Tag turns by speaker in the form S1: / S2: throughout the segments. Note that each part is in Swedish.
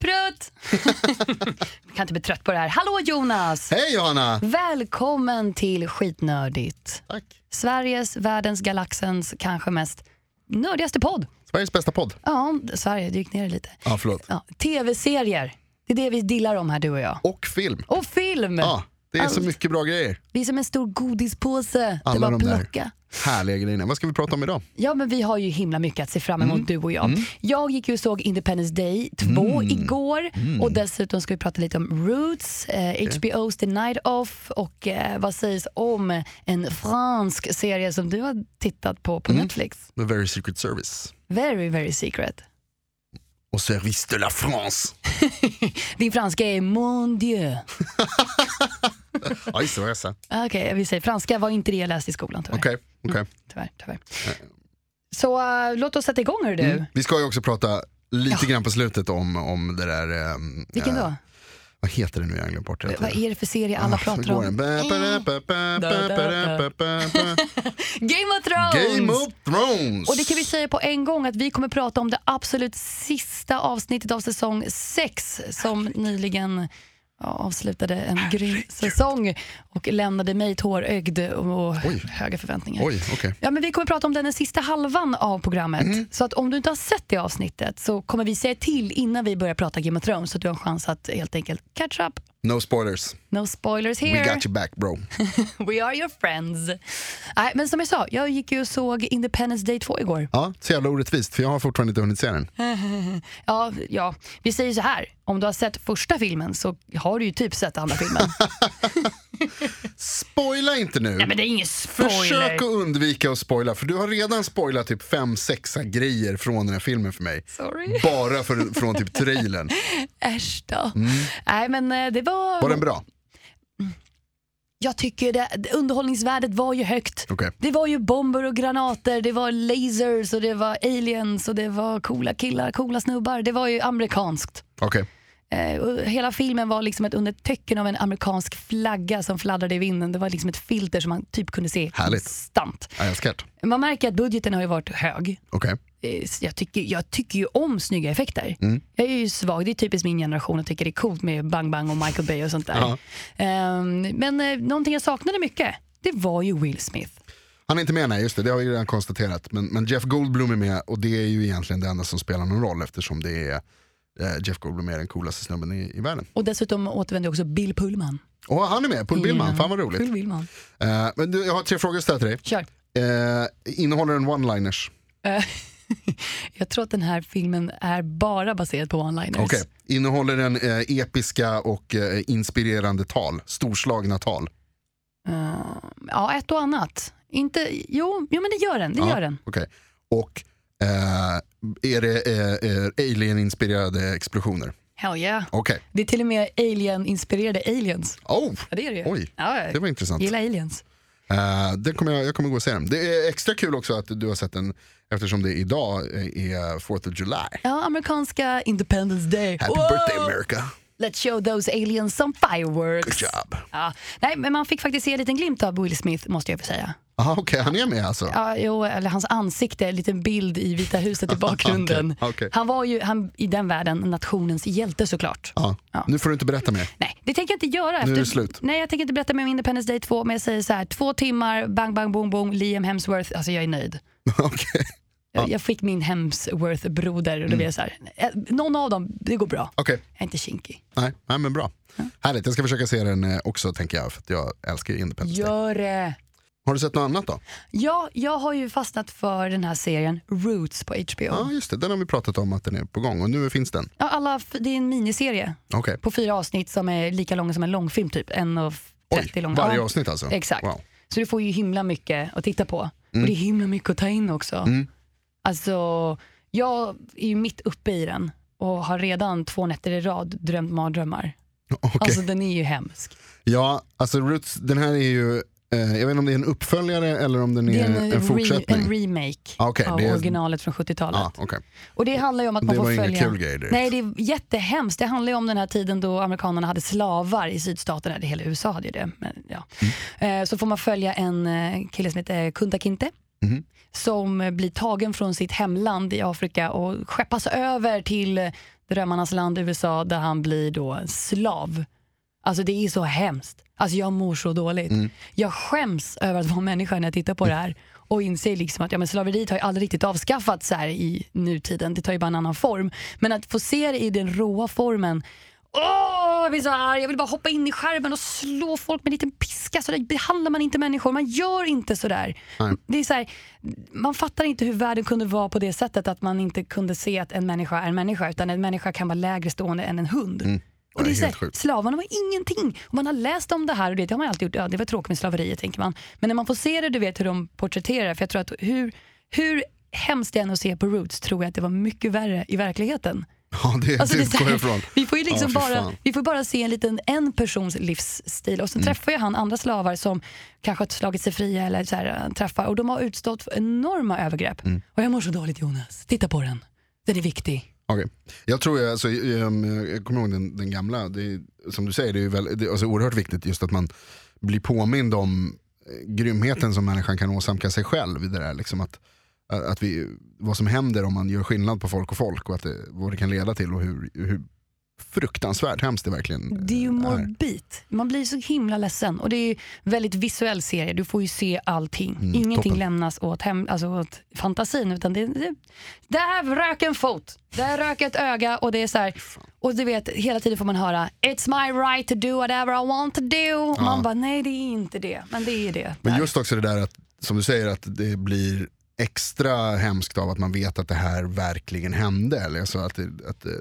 S1: Prutt! Jag kan inte bli trött på det här. Hallå Jonas!
S2: Hej Johanna!
S1: Välkommen till Skitnördigt.
S2: Tack.
S1: Sveriges, världens, galaxens kanske mest nördigaste podd.
S2: Sveriges bästa podd.
S1: Ja, Sverige, du gick ner det lite.
S2: Ja, förlåt.
S1: Ja, Tv-serier, det är det vi dillar om här du och jag.
S2: Och film.
S1: Och film!
S2: Ja, det är så
S1: Allt.
S2: mycket bra grejer.
S1: Vi är som en stor godispåse. det är
S2: Alla
S1: bara
S2: de
S1: att
S2: där.
S1: plocka.
S2: Härliga grejerna. Vad ska vi prata om idag?
S1: Ja, men vi har ju himla mycket att se fram
S2: Mm.
S1: emot du och jag. Jag gick ju och såg Independence Day 2
S2: Mm.
S1: igår och dessutom ska vi prata lite om Roots, eh, HBO's The Night Off och eh, vad sägs om en fransk serie som du har tittat på på
S2: Mm.
S1: Netflix.
S2: The Very Secret Service.
S1: Very, very secret.
S2: Och Service de la France.
S1: Din franska är mon dieu. Ah,
S2: Ja, just det. Vad jag sa.
S1: Okej, vi säger franska var inte det jag läste i skolan tyvärr.
S2: Okej, okej.
S1: tyvärr, tyvärr. Så eh, låt oss sätta igång hör du.
S2: Mm. Vi ska ju också prata lite grann på slutet om, om det där... ehm,
S1: Vilken
S2: eh, Ah,
S1: då?
S2: Vad heter det nu? Jag har glömt bort det.
S1: Vad är det för serie alla pratar om? Game of Thrones!
S2: Game of Thrones!
S1: Och det kan vi säga på en gång att vi kommer prata om det absolut sista avsnittet av säsong 6 som nyligen ja, avslutade en grym säsong och lämnade mig tårögd och och
S2: Oj.
S1: höga förväntningar.
S2: Oj, okej. Mhm.
S1: Ja, men vi kommer prata om den, den sista halvan av programmet. Så att om du inte har sett det avsnittet så kommer vi säga till innan vi börjar prata Game of Thrones så att du har en chans att helt enkelt catch up.
S2: No spoilers.
S1: No spoilers
S2: We
S1: here.
S2: got you back bro.
S1: We are your friends. Nej, men som jag sa, jag gick ju och såg Independence Day 2 igår.
S2: Ja, så jävla orättvist för jag har fortfarande inte hunnit se den.
S1: Ja, ja, vi säger så här. Om du har sett första filmen så har du ju typ sett andra filmen.
S2: Spoila inte nu!
S1: Nej men det är ingen
S2: Försök
S1: spoiler.
S2: att undvika att spoila, för du har redan spoilat typ 5-6 grejer från den här filmen för mig.
S1: Sorry.
S2: Bara för, från typ trailern.
S1: Äsch då. Nej men eh, det var...
S2: Mm. Var den bra?
S1: Jag tycker det, det- underhållningsvärdet var ju högt.
S2: Okej.
S1: Det var ju bomber och granater, det var lasers och det var aliens och det var coola killar, coola snubbar. Det var ju amerikanskt.
S2: Okej.
S1: Eh, och hela filmen var liksom ett under tecken av en amerikansk flagga som fladdrade i vinden. Det var liksom ett filter som man typ kunde se
S2: Härligt.
S1: konstant.
S2: Ja, jag älskar det.
S1: Man märker att budgeten har ju varit hög.
S2: Okej.
S1: eh, jag tycker, jag tycker ju om snygga effekter.
S2: Mm.
S1: Jag är ju svag, det är typiskt min generation och tycker det är coolt med Bang Bang och Michael Bay och sånt där.
S2: Ja.
S1: Ehm, men eh, någonting jag saknade mycket, det var ju Will Smith.
S2: Han är inte med, nej just det, det har vi redan konstaterat. Men, men Jeff Goldblum är med och det är ju egentligen det enda som spelar någon roll eftersom det är eh, Jeff Goldblum är den coolaste snubben i, i världen.
S1: Och dessutom återvände också Bill Pullman.
S2: Och han är med, Paul Billman,
S1: Ja,
S2: fan vad roligt.
S1: Bill Pullman.
S2: Eh, men du, jag har tre frågor att ställa till dig.
S1: Kör.
S2: Eh, innehåller den one-liners?
S1: Eh, jag tror att den här filmen är bara baserad på one-liners.
S2: Okej. Innehåller den eh, episka och eh, inspirerande tal? Storslagna tal?
S1: Ehm, ja, ett och annat. Inte, jo, jo, men det gör den. Det
S2: Ja,
S1: gör den.
S2: okej. Och eh, är det eh, eh, alien-inspirerade explosioner?
S1: Hell yeah.
S2: Okej.
S1: Det är till och med alien-inspirerade aliens.
S2: Oh,
S1: Ja, det är det ju.
S2: Oj,
S1: ja, ja.
S2: det var intressant.
S1: Gillar aliens.
S2: Eh, den kommer jag, jag kommer gå och se den. Det är extra kul också att du har sett den eftersom det idag eh, är 4th of July.
S1: Ja, amerikanska Independence Day.
S2: Happy
S1: Wow!
S2: birthday America,
S1: Let's show those aliens some fireworks.
S2: good job.
S1: Ja, nej, men man fick faktiskt se en liten glimt av Will Smith, måste jag få säga.
S2: Ah, Okej, han är med alltså?
S1: Ja, jo, eller hans ansikte, en liten bild i Vita huset i bakgrunden.
S2: Okej, okej.
S1: Han var ju han, i den världen nationens hjälte såklart.
S2: Ja.
S1: Ja.
S2: Nu får du inte berätta mer.
S1: Nej, det tänker jag inte göra. Efter,
S2: är det slut.
S1: Nej, jag tänker inte berätta mer om Independence Day 2, men jag säger så här, två timmar, bang, bang, boom, boom, Liam Hemsworth, alltså jag är nöjd.
S2: Okej,
S1: Jag, jag fick min Hemsworth-broder
S2: Mm.
S1: och då blev jag så här, eh, någon av dem, det går bra.
S2: Okej.
S1: Jag är inte kinkig.
S2: Nej, nej, men bra. Härligt, jag ska försöka se den eh, också tänker jag för att jag älskar Independence Day.
S1: Gör det!
S2: Har du sett något annat då?
S1: Ja, jag har ju fastnat för den här serien Roots på HBO.
S2: Ja, just det. Den har vi pratat om att den är på gång och nu finns den.
S1: Ja, alla, f- det är en miniserie
S2: Okej.
S1: på fyra avsnitt som är lika lång som en långfilm, typ. En och f- 30 lång.
S2: Varje
S1: Ja,
S2: avsnitt alltså?
S1: Exakt.
S2: Wow. Mm.
S1: Så du får ju himla mycket att titta på. Och det är himla mycket att ta in också. Alltså, jag är ju mitt uppe i den. och har redan två nätter i rad drömt mardrömmar.
S2: Okej.
S1: Alltså den är ju hemsk.
S2: Ja, alltså Roots, den här är ju, eh, jag vet inte om det är en uppföljare eller om den är,
S1: Det är
S2: en,
S1: en, re,
S2: fortsättning.
S1: en remake
S2: Ah, okej,
S1: av
S2: det är-
S1: originalet från 70-talet.
S2: Ja, okej.
S1: Och det handlar ju om att man
S2: Det
S1: får
S2: var inga
S1: följa...
S2: kul grejer direkt.
S1: Nej, det är jättehemskt. Det handlar ju om den här tiden då amerikanerna hade slavar i sydstaterna. Det hela USA hade ju det. Men, ja.
S2: Mm.
S1: Eh, Så får man följa en eh, kille som heter Kunta Kinte.
S2: Mhm.
S1: Som eh, blir tagen från sitt hemland i Afrika och skeppas över till eh, drömmarnas land USA där han blir då slav. Alltså det är så hemskt. Alltså jag mår så dåligt.
S2: Mm.
S1: Jag skäms över att vara människa när jag tittar på det här och inser liksom att ja, men slaveriet har ju aldrig riktigt avskaffats så här i nutiden. Det tar ju bara en annan form. Men att få se det i den råa formen Åh, jag blir så arg. Jag vill bara hoppa in i skärmen och slå folk med en liten piska. Så där behandlar man inte människor. Man gör inte så där.
S2: Nej.
S1: Det är så här, man fattar inte hur världen kunde vara på det sättet att man inte kunde se att en människa är en människa utan en människa kan vara lägre stående än en hund. Och
S2: Mm. Det
S1: det
S2: är
S1: är så
S2: helt
S1: här,
S2: sjukt.
S1: slavarna var ingenting. Och man har läst om det här och det, det har man alltid gjort. Ja, det var tråkigt med slaveriet tänker man. Men när man får se det, du vet hur de porträtterar. För jag tror att hur, hur hemskt det än är att se på Roots tror jag att det var mycket värre i verkligheten.
S2: Ja, det,
S1: Alltså,
S2: det,
S1: det är så
S2: går
S1: här-
S2: jag ifrån.
S1: Vi får ju liksom
S2: Ja, fy
S1: bara,
S2: fan. Mm.
S1: vi får bara se en liten en persons livsstil och sen träffar ju han andra slavar som kanske har slagit sig fria eller så här, äh, träffar och de har utstått enorma övergrepp.
S2: Mm.
S1: Och jag mår så dåligt Jonas, titta på den. Den är viktig.
S2: Okej. Jag tror jag, alltså, jag, jag kommer ihåg den, den gamla, det är, som du säger, det är ju väl, det är alltså oerhört viktigt just att man blir påmind om eh, grymheten som människan kan åsamka sig själv i det där. Liksom att, att vi, vad som händer om man gör skillnad på folk och folk och att det, vad det kan leda till och hur, hur fruktansvärt hemskt det verkligen eh,
S1: Det är ju
S2: är.
S1: morbid. Man blir så himla ledsen och det är ju väldigt visuell serie. Du får ju se allting. Ingenting
S2: Mm, toppen.
S1: lämnas åt, hem, alltså åt fantasin utan det, det, där rök en fot, där rök ett öga och det är så här, och du vet hela tiden får man höra “It's my right to do whatever I want to do”. Man bara nej det är inte det, men det är det.
S2: Men
S1: där.
S2: just också det där att, som du säger, att det blir extra hemskt av att man vet att det här verkligen hände. Eller alltså att, det, att, det-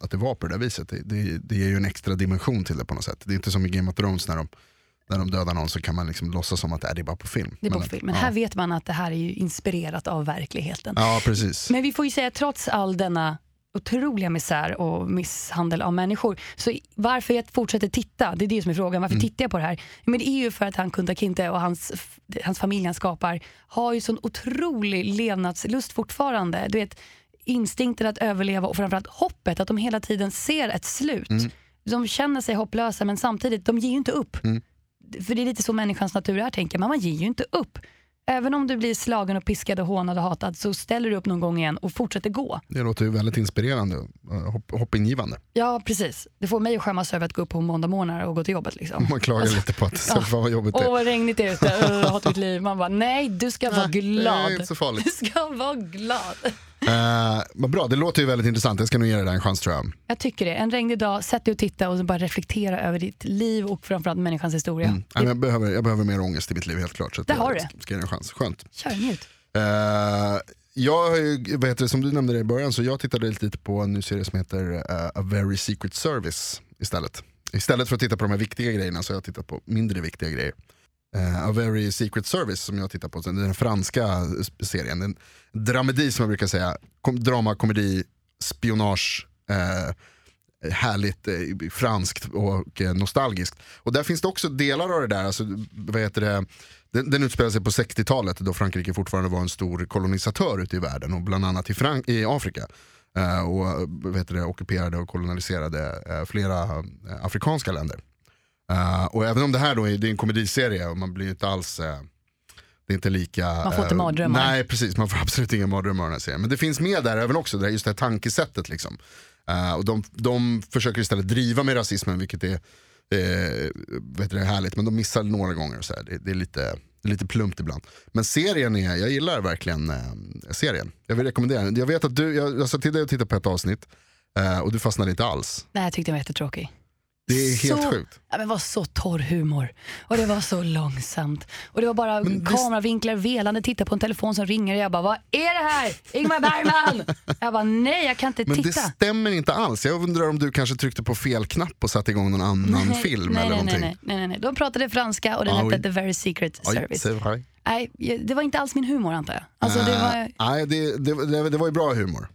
S2: att det var på det där viset. Det, det, det ger ju en extra dimension till det på något sätt. Det är inte som i Game of Thrones när de, när de dödar någon så kan man liksom låtsas som att äh, det är bara på film.
S1: det är
S2: Men
S1: på
S2: att-
S1: film. Men
S2: ja.
S1: här vet man att det här är ju inspirerat av verkligheten.
S2: Ja, precis.
S1: Men vi får ju säga trots all denna otroliga misär och misshandel av människor. Så i- varför jag fortsätter titta, det är det som är frågan. Varför tittar jag på det här? Men det är ju för att han Kunta Kinte och hans, f- hans familj han skapar har ju sån otrolig levnadslust fortfarande. Du vet, instinkten att överleva och framförallt hoppet, att de hela tiden ser ett slut. De känner sig hopplösa men samtidigt, de ger ju inte upp. För det är lite så människans natur är, tänker man. Man ger ju inte upp. Även om du blir slagen och piskad och hånad och hatad så ställer du upp någon gång igen och fortsätter gå.
S2: Det låter ju väldigt inspirerande och eh, hopp, hoppingivande.
S1: Ja, precis. Det får mig att skämmas över att gå upp på måndagmorgnar och gå till jobbet. Liksom.
S2: Man klagar lite på att ja. fan vad jobbigt det
S1: Åh,
S2: är.
S1: vad regnigt det är ute. Öh, Jag hatar mitt liv. Man bara, nej, du ska vara
S2: det är
S1: glad.
S2: inte så farligt.
S1: Du ska vara glad.
S2: Eh, Vad bra, det låter ju väldigt intressant. Jag ska nog ge det där en chans tror jag.
S1: Jag tycker det. En regnig dag, sätt dig och titta och så bara reflektera över ditt liv och framförallt människans historia.
S2: Nej, Mm. men jag, behöver, jag behöver mer ångest i mitt liv helt klart. Så att
S1: Det
S2: jag
S1: har du.
S2: Ska ge det en chans. Skönt.
S1: Kör, njut.
S2: Eh, jag har ju, vad heter det, som du nämnde det i början, så jag tittade lite på en ny serie som heter eh, A Very Secret Service istället. Istället för att titta på de här viktiga grejerna så har jag tittat på mindre viktiga grejer. Eh, A Very Secret Service som jag tittar på, så det är den franska s- serien. En dramedi som jag brukar säga. Kom, drama, komedi, spionage. eh, härligt eh, franskt och eh, nostalgiskt. Och där finns det också delar av det där, alltså, vad heter det? Den, den utspelar sig på 60-talet då Frankrike fortfarande var en stor kolonisatör ute i världen och bland annat i, Frank- i Afrika. Eh, och eh, vad heter det, ockuperade och koloniserade eh, flera eh, afrikanska länder. Eh, och även om det här då är, det är en komediserie och man blir inte alls eh, det är inte lika...
S1: Man får inte
S2: eh,
S1: mardrömmar.
S2: Nej, precis. Man får absolut inga mardrömmar av den här serien. Men det finns med där även också, det här, just det här tankesättet. Liksom. Eh, och de, de försöker istället driva med rasismen, vilket är eh, vet du, det är härligt. Men de missar några gånger. Och så här. Det, det, är lite, det är lite plumpt ibland. Men serien är, jag gillar verkligen eh, serien. Jag vill rekommendera den. Jag vet att du, jag, jag sa till dig att titta på ett avsnitt eh, och du fastnade inte alls.
S1: Nej, jag tyckte den var jättetråkig.
S2: Det är helt
S1: så,
S2: sjukt.
S1: Ja, men det var så torr humor. Och det var så långsamt. Och det var bara
S2: visst-
S1: kameravinklar, velande, titta på en telefon som ringer. Och jag bara, vad är det här? Ingmar Bergman! jag bara, nej jag kan inte
S2: Men
S1: titta.
S2: det stämmer inte alls. Jag undrar om du kanske tryckte på fel knapp och satte igång någon annan
S1: Nej,
S2: film
S1: nej,
S2: eller
S1: nej, nej,
S2: någonting.
S1: nej, nej, nej, nej. De pratade franska och den
S2: Ja,
S1: hette
S2: oj.
S1: The Very Secret
S2: Oj,
S1: Service.
S2: säg vad-
S1: Nej, jag- det var inte alls min humor antar jag. Alltså, det var,
S2: Eh, nej, det, det, det, det var ju bra humor.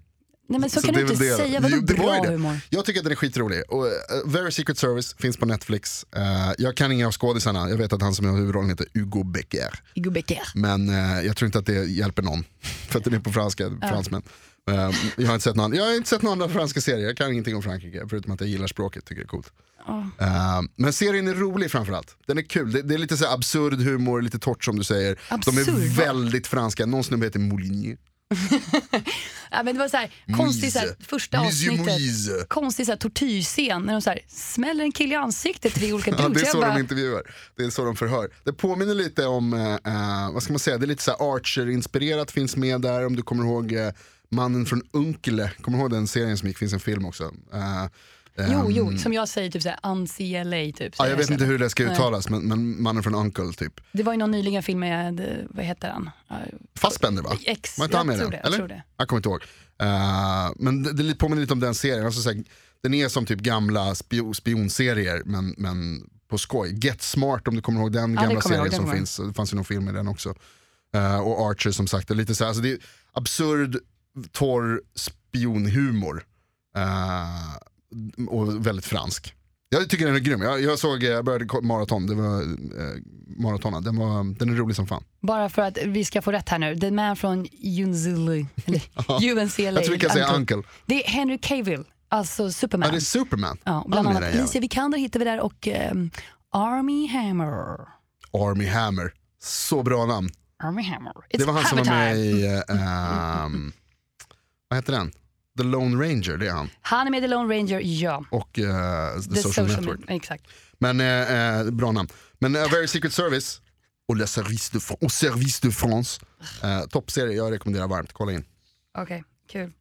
S1: Nej, men så,
S2: Så
S1: kan
S2: det
S1: du
S2: är
S1: inte
S2: väl det då.
S1: säga. Vadå
S2: Jo, det var
S1: bra
S2: ju det.
S1: humor?
S2: Jag tycker att den är skitrolig. Och, eh, Very Secret Service finns på Netflix. Eh, jag kan inga av skådisarna. Jag vet att han som gör huvudrollen heter Hugo Becker.
S1: Hugo Becker.
S2: Men eh, jag tror inte att det hjälper någon. För att den är på franska, fransmän. Eh, jag, har inte sett någon, jag har inte sett någon andra franska serier. Jag kan ingenting om Frankrike. Förutom att jag gillar språket, tycker det är coolt. Eh, men serien är rolig framförallt. Den är kul. Det, det är lite så här absurd humor, lite torrt som du säger. De
S1: Absurd,
S2: är
S1: va?
S2: väldigt franska. Någon snubbe heter Moulinier.
S1: Ja, men det var så här, konstig så här,
S2: Moise.
S1: första
S2: Monsieur
S1: avsnittet.
S2: Moise.
S1: Konstig så här, tortyrscen när de så här, smäller en kille i ansiktet tre olika dudes.
S2: Ja, det är
S1: Jag
S2: så
S1: bara,
S2: de intervjuar. Det är så de förhör. Det påminner lite om, eh, eh, vad ska man säga, det är lite så här Archer-inspirerat finns med där om du kommer ihåg eh, Mannen från Unkele, kommer du ihåg den serien som gick, finns en film också. Eh, ehm,
S1: Jo, jo, som jag säger, typ så här, anti-LA. Typ,
S2: ja,
S1: säger
S2: jag
S1: jag
S2: vet
S1: så.
S2: inte hur det ska uttalas, men, men Mannen från Uncle typ.
S1: Det var ju någon nyligen film med, eh, vad heter han? Ja,
S2: Fassbender va?
S1: Ex,
S2: Var inte han
S1: jag
S2: med i
S1: tror
S2: den?
S1: det, jag
S2: Eller?
S1: tror det.
S2: Jag kommer inte ihåg. Eh, men det, det påminner lite om den serien. Alltså, så här, den är som typ gamla spio, spionserier men, men på skoj. Get Smart om du kommer ihåg den
S1: det
S2: gamla
S1: kommer jag
S2: serien
S1: ihåg, den
S2: som
S1: kommer jag
S2: finns. Det fanns ju någon film med den också. Eh, och Archer som sagt. Det är lite så här, alltså, det är absurd, torr spionhumor. Eh, och väldigt fransk. Jag tycker den är grym. Jag, jag såg, jag började ko- maraton, det var eh, maratona. Den, var, den är rolig som fan.
S1: Bara för att vi ska få rätt här nu. The man från UNCLA. Eller UNCLA.
S2: Jag tror vi kan säga Uncle.
S1: Det är Henry Cavill, alltså Superman.
S2: Ja, det är Superman.
S1: Ja, och bland
S2: Han är
S1: annat
S2: den
S1: Alicia Vikander hittar vi där och ehm, Army Hammer.
S2: Army Hammer. Så bra namn.
S1: Army Hammer. It's
S2: det var han som var
S1: hammer
S2: med
S1: time.
S2: i, eh, ehm, vad heter den? The Lone Ranger, det är han.
S1: Han är med i The Lone Ranger, ja.
S2: Och eh, The, Social, Network.
S1: Network. Exakt.
S2: Men eh, eh, bra namn. Men eh, Very Secret Service och Le Service de, Fran- och Service de France. Eh, Toppserie, jag rekommenderar varmt. Kolla in.
S1: Okej, kul.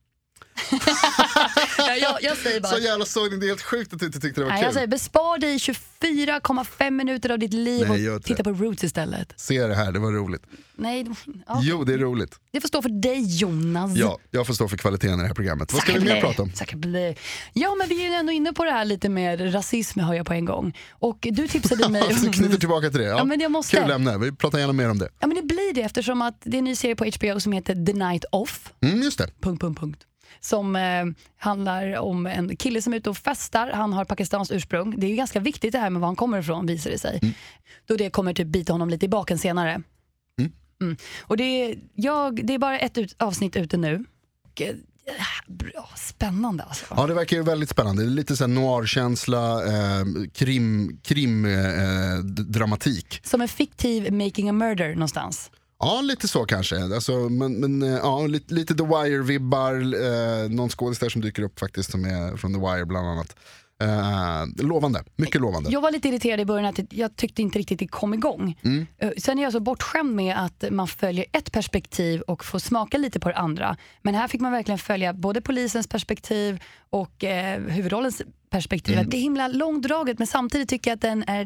S1: jag, jag säger bara...
S2: Så jävla såg ni, det är helt sjukt att du inte tyckte det var
S1: Nej,
S2: kul.
S1: jag säger, bespar dig 24,5 minuter av ditt liv
S2: Nej, gör
S1: och
S2: inte
S1: titta
S2: det.
S1: på Roots istället.
S2: Se det här, det var roligt.
S1: Nej, ja,
S2: Jo, det är roligt.
S1: det får stå för dig Jonas.
S2: Ja, jag får stå för kvaliteten i det här programmet. Vad ska vi mer
S1: Säkert.
S2: prata om?
S1: Säkert blir. Ja, men vi är ju ändå inne på det här lite med rasism hör jag på en gång. Och du tipsade mig
S2: Så knyter tillbaka till det. Ja,
S1: Ja, men jag måste.
S2: Kul ämne, vi pratar gärna mer om det.
S1: Ja, men det blir det eftersom att det är en ny serie på HBO som heter The Night Off.
S2: Mm, just det.
S1: Punkt, punkt, punkt. Som eh, handlar om en kille som är ute och festar. Han har Pakistans ursprung. Det är ju ganska viktigt det här med var han kommer ifrån visar det sig. Då det kommer typ bita honom lite i baken senare. Mm. Och det är, jag, det är bara ett ut, avsnitt ute nu. Och, eh, bra, spännande alltså.
S2: Ja, det verkar ju väldigt spännande. Det är lite så här noir-känsla, eh, krim, krim, eh, d- dramatik.
S1: Som en fiktiv making a murder någonstans.
S2: Ja, lite så kanske. Alltså, men, men, eh, ja, lite, lite The Wire-vibbar, eh, någon skådis där som dyker upp faktiskt som är från The Wire bland annat. Eh, lovande, mycket lovande.
S1: Jag var lite irriterad i början att jag tyckte inte riktigt det kom igång. Eh, Sen är jag så bortskämd med att man följer ett perspektiv och får smaka lite på det andra. Men här fick man verkligen följa både polisens perspektiv och eh, huvudrollens perspektiv. Att Det är himla långdraget men samtidigt tycker jag att den är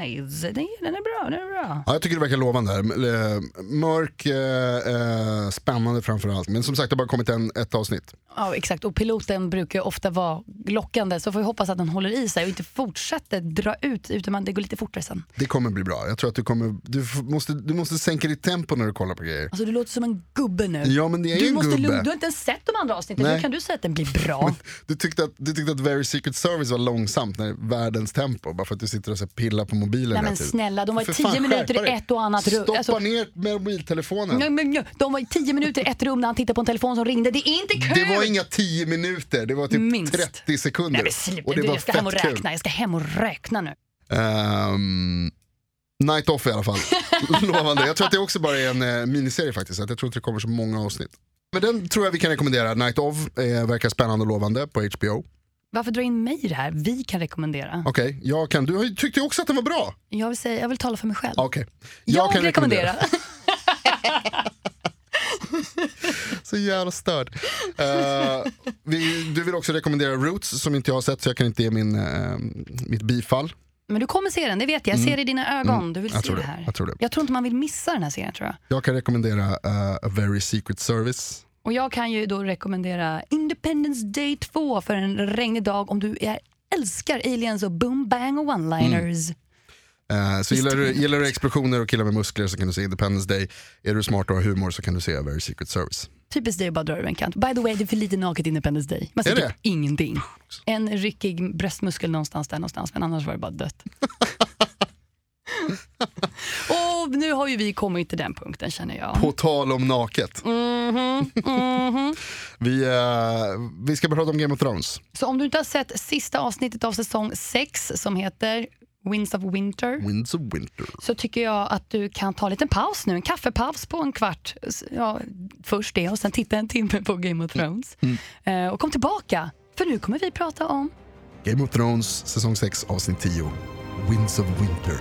S1: nice. Den, är- den är bra, den är bra.
S2: Ja, jag tycker det verkar lovande. här. Eh, Mörk, eh, eh, spännande framförallt. Men som sagt, det har bara kommit en, ett avsnitt.
S1: Ja, exakt. Och piloten brukar ju ofta vara lockande så får vi hoppas att den håller i sig och inte fortsätter dra ut utan man, det går lite fortare sen.
S2: Det kommer bli bra. Jag tror att du kommer, du f- måste, du måste sänka ditt tempo när du kollar på grejer.
S1: Alltså du låter som en gubbe nu.
S2: Ja, men det är ju
S1: du,
S2: en
S1: måste
S2: gubbe.
S1: lugna- du har inte ens sett de andra avsnitten,
S2: Nej.
S1: hur kan du säga att den blir bra?
S2: Du tyckte, att, du tyckte att Very Secret Service var långsamt, när det är världens tempo, bara för att du sitter och så här pillar på
S1: Nej
S2: mobilen hela
S1: men
S2: tiden.
S1: snälla, de var
S2: För
S1: i
S2: fan,
S1: tio minuter
S2: skärpa
S1: i
S2: dig.
S1: ett och annat rum.
S2: Stoppa
S1: Alltså,
S2: ner med mobiltelefonen.
S1: nej, men, nej, de var i tio minuter i ett rum när han tittade på en telefon som ringde. Det är inte kul!
S2: Det var inga tio minuter, det var typ
S1: Minst.
S2: 30 sekunder.
S1: Nej men sluta,
S2: och det
S1: du,
S2: var
S1: jag ska hem och
S2: fett kul.
S1: räkna. Jag ska hem och räkna nu.
S2: Ehm, Night Off i alla fall. Lovande. Jag tror att det också bara är en eh, miniserie faktiskt. Att jag tror inte det kommer så många avsnitt. Men den tror jag vi kan rekommendera. Night Off eh, verkar spännande och lovande på HBO.
S1: Varför dra in mig i det här? Vi kan rekommendera.
S2: Okej, jag kan. Du har ju- tyckte ju också att den var bra.
S1: Jag vill, säga, jag vill tala för mig själv.
S2: Okej.
S1: jag kan rekommendera.
S2: Så jävla störd. Eh, vi, du vill också rekommendera Roots som inte jag har sett så jag kan inte ge min, eh, mitt bifall.
S1: Men du kommer se den, det vet jag. Jag ser det i dina ögon. Du vill
S2: Mm. Jag
S1: se
S2: tror
S1: det
S2: det,
S1: här.
S2: jag tror det.
S1: jag tror inte man vill missa den här serien tror jag.
S2: Jag kan rekommendera eh, A Very Secret Service.
S1: Och jag kan ju då rekommendera Independence Day 2
S2: Mm.
S1: för en regnig dag om du är, älskar aliens och boom bang och one-liners.
S2: Eh, så gillar du, gillar du explosioner och killar med muskler så kan du se Independence Day. Är du smart och har humor så kan du se Very Secret Service.
S1: Typiskt dig att bara dra över en kant. By the way, det är för lite naket Independence Day. Man
S2: Är
S1: ser
S2: det?
S1: typ ingenting. En ryckig bröstmuskel någonstans där någonstans, men annars var det bara dött. Och nu har ju vi kommit till den punkten känner jag.
S2: På tal om naket. Mm-hmm, vi, eh, vi ska prata om Game of Thrones.
S1: Så om du inte har sett sista avsnittet av säsong 6 som heter Winds of Winter
S2: Winds of Winter.
S1: så tycker jag att du kan ta en liten paus nu, en kaffepaus på en kvart. S- Ja, först det och sen titta en timme på Game of Thrones.
S2: Mm.
S1: Eh, och kom tillbaka, för nu kommer vi prata om
S2: Game of Thrones säsong 6 avsnitt 10. Winds of Winter.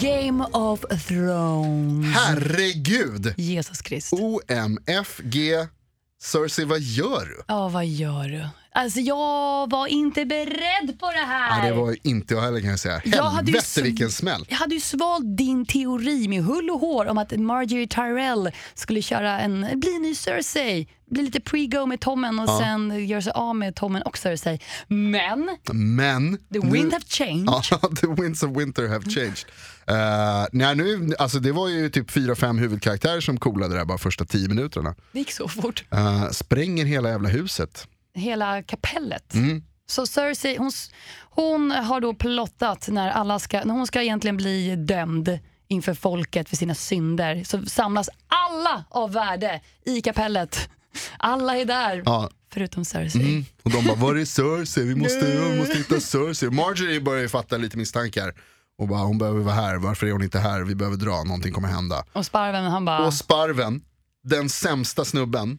S1: Game of Thrones.
S2: Herregud!
S1: Jesus Krist.
S2: OMFG. Cersei, vad gör du?
S1: Ja, vad gör du? Alltså jag var inte beredd på det här.
S2: Ja, det var inte jag heller kan jag säga.
S1: Jag hade ju
S2: Helvete
S1: sv-
S2: vilken smäll.
S1: Jag hade ju svalt din teori med hull och hår om att Marjorie Tyrell skulle köra en, bli ny Cersei, bli lite pre-go med Tommen och sen göra sig av med Tommen och Cersei. Men
S2: Men...
S1: the
S2: nu-
S1: wind have changed.
S2: Ja, the winds of winter have changed. Eh, nej, nu, alltså det var ju typ fyra, fem huvudkaraktärer som coolade där bara första tio minuterna.
S1: Det gick så fort.
S2: Eh, spränger hela jävla huset.
S1: Hela kapellet.
S2: Mm.
S1: Så Cersei, hon, s- hon har då plottat när, alla ska, när hon ska egentligen bli dömd inför folket för sina synder. Så samlas alla av värde i kapellet. Alla är där,
S2: Ja. Mm.
S1: förutom Cersei.
S2: Och de bara, var är Cersei? Vi måste, vi måste hitta Cersei. Marjorie börjar ju fatta lite misstankar. Och bara, hon behöver vara här, varför är hon inte här? Vi behöver dra, någonting kommer hända.
S1: Och Sparven han bara...
S2: Och Sparven, den sämsta snubben.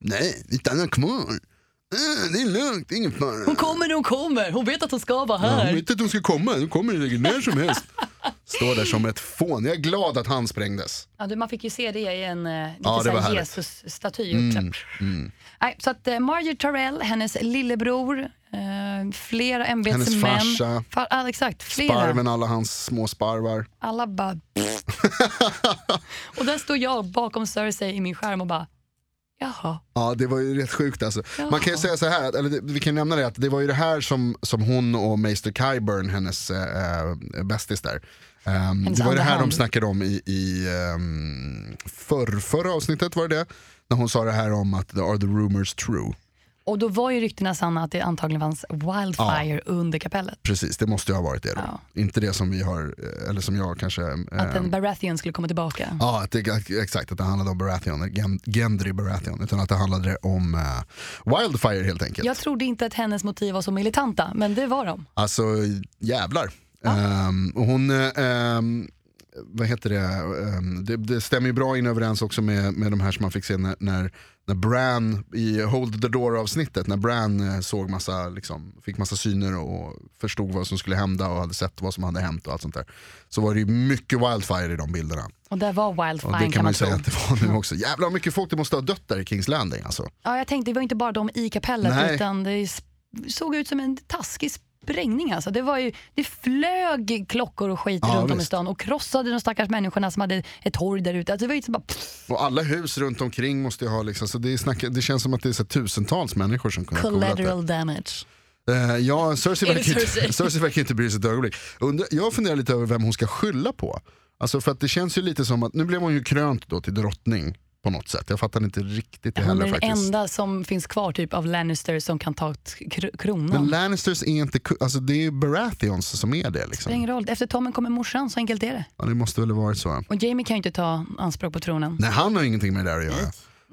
S2: Nej, vi stannar kvar. Eh, det är lugnt, ingen fara.
S1: Hon kommer, hon kommer. Hon vet att hon ska vara
S2: Ja,
S1: här.
S2: hon vet att hon ska komma, hon kommer säkert när som helst. Står där som ett fån. Jag är glad att han sprängdes.
S1: Ja, du, man fick ju se det i en eh, lite
S2: Ja, det
S1: så
S2: var
S1: här
S2: härligt.
S1: Jesus-staty. Mm, Nej, så att eh, Marjorie Tyrell, hennes lillebror, eh, flera ämbetsmän.
S2: farsa.
S1: Fa- ja, exakt, flera.
S2: Sparven, alla hans små sparvar.
S1: Alla bara... och där står jag bakom Cersei i min skärm och bara... Jaha.
S2: Ja, det var ju rätt sjukt alltså. Man kan ju säga så här, att- eller det- vi kan nämna det att det var ju det här som, som hon och Meister Kyburn, hennes eh, eh, bästis där, ehm, det var ju
S1: andra
S2: det här
S1: hand.
S2: de snackade om i, i um, förr, förra avsnittet var det det? När hon sa det här om att are the rumors true.
S1: Och då var ju ryktena sanna att det antagligen fanns wildfire under kapellet.
S2: Precis, det måste ju ha varit det då.
S1: Ja.
S2: Inte det som vi har, eh, eller som jag kanske...
S1: Att
S2: ehm,
S1: en Baratheon skulle komma tillbaka.
S2: Ja, att det, exakt. Att det handlade om Baratheon, Gen- Gendry Baratheon. Utan att det handlade om eh, Wildfire helt enkelt.
S1: Jag trodde inte att hennes motiv var så militanta, men det var de.
S2: Alltså jävlar. Ehm, och hon, eh, ehm, vad heter det? Ehm, det, det stämmer ju bra in överens också med, med de här som man fick se när, när, när Bran i Hold the Door avsnittet, när Bran eh, såg massa, liksom, fick massa syner och förstod vad som skulle hända och hade sett vad som hade hänt och allt sånt där. Så var det ju mycket Wildfire i de bilderna.
S1: Och där var Wildfire
S2: Och det
S1: kan,
S2: kan man
S1: man
S2: ju säga
S1: tro.
S2: att det var nu också. Jävlar vad mycket folk det måste ha dött där i Kings Landing alltså.
S1: Ja, jag tänkte, det var inte bara de i kapellet
S2: Nej.
S1: utan det s- såg ut som en taskig sprängning. Alltså. Det, var ju, det flög klockor och skit
S2: Ja,
S1: runt om i
S2: visst.
S1: stan och krossade de stackars människorna som hade ett torg där ute. Alltså, det var ju liksom bara, pff,
S2: Och alla hus runt omkring måste ju ha liksom, så det, är snack, det känns som att det är så här tusentals människor som kunde ha kolat det.
S1: collateral damage.
S2: Eh, ja, Cersei
S1: Är det
S2: verkar,
S1: Cersei?
S2: inte, Cersei verkar inte bry sig ett ögonblick. Undra, jag funderar lite över vem hon ska skylla på. Alltså för att det känns ju lite som att, nu blev hon ju krönt då till drottning på något sätt. Jag fattar inte riktigt det
S1: Hon
S2: heller
S1: är den
S2: faktiskt.
S1: enda som finns kvar typ av Lannister som kan ta t- kr-
S2: Men
S1: kronan.
S2: Lannisters är inte, ku- alltså det är ju Baratheons som är
S1: Det
S2: det
S1: spelar
S2: liksom.
S1: ingen roll. Efter Tommen kommer morsan, så enkelt är det.
S2: Ja, det måste väl ha varit så.
S1: Och Jamie kan ju inte ta anspråk på tronen.
S2: Nej, han har ingenting med det där att göra.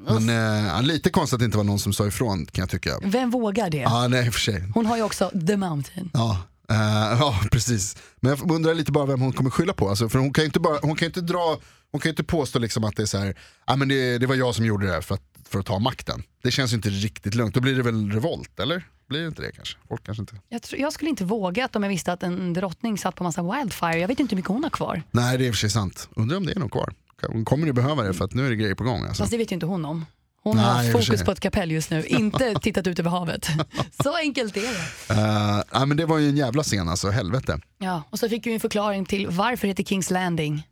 S1: Mm.
S2: Men eh, ja, lite konstigt att det inte var någon som sa ifrån kan jag tycka.
S1: Vem vågar det?
S2: Ja, nej i och för sig.
S1: Hon har ju också The Mountain.
S2: Ja, eh, ja, precis. Men jag undrar lite bara vem hon kommer skylla på. Alltså, för hon kan ju inte, bara, hon kan ju inte, dra, hon kan ju inte påstå liksom att det är så här, "Ah, men det, det var jag som gjorde det här för att, för att ta makten. Det känns ju inte riktigt lugnt. Då blir det väl revolt, eller? Blir det inte det kanske? Folk kanske inte.
S1: Jag, tror, jag skulle inte våga att om jag visste att en drottning satt på massa wildfire. Jag vet inte hur mycket hon har kvar.
S2: Nej, det är i och för sig sant. Undrar om det är någon kvar. Hon kommer ju behöva det för att nu är det grejer på gång. Alltså.
S1: Fast det vet ju inte hon om. Hon Hon
S2: Nej,
S1: har
S2: i
S1: haft
S2: och för sig.
S1: fokus på ett kapell just nu, inte tittat ut över havet. Så enkelt är det.
S2: Eh, nej, men det var ju en jävla scen alltså, helvete.
S1: Ja, och så fick vi en förklaring till varför det heter Kings Landing.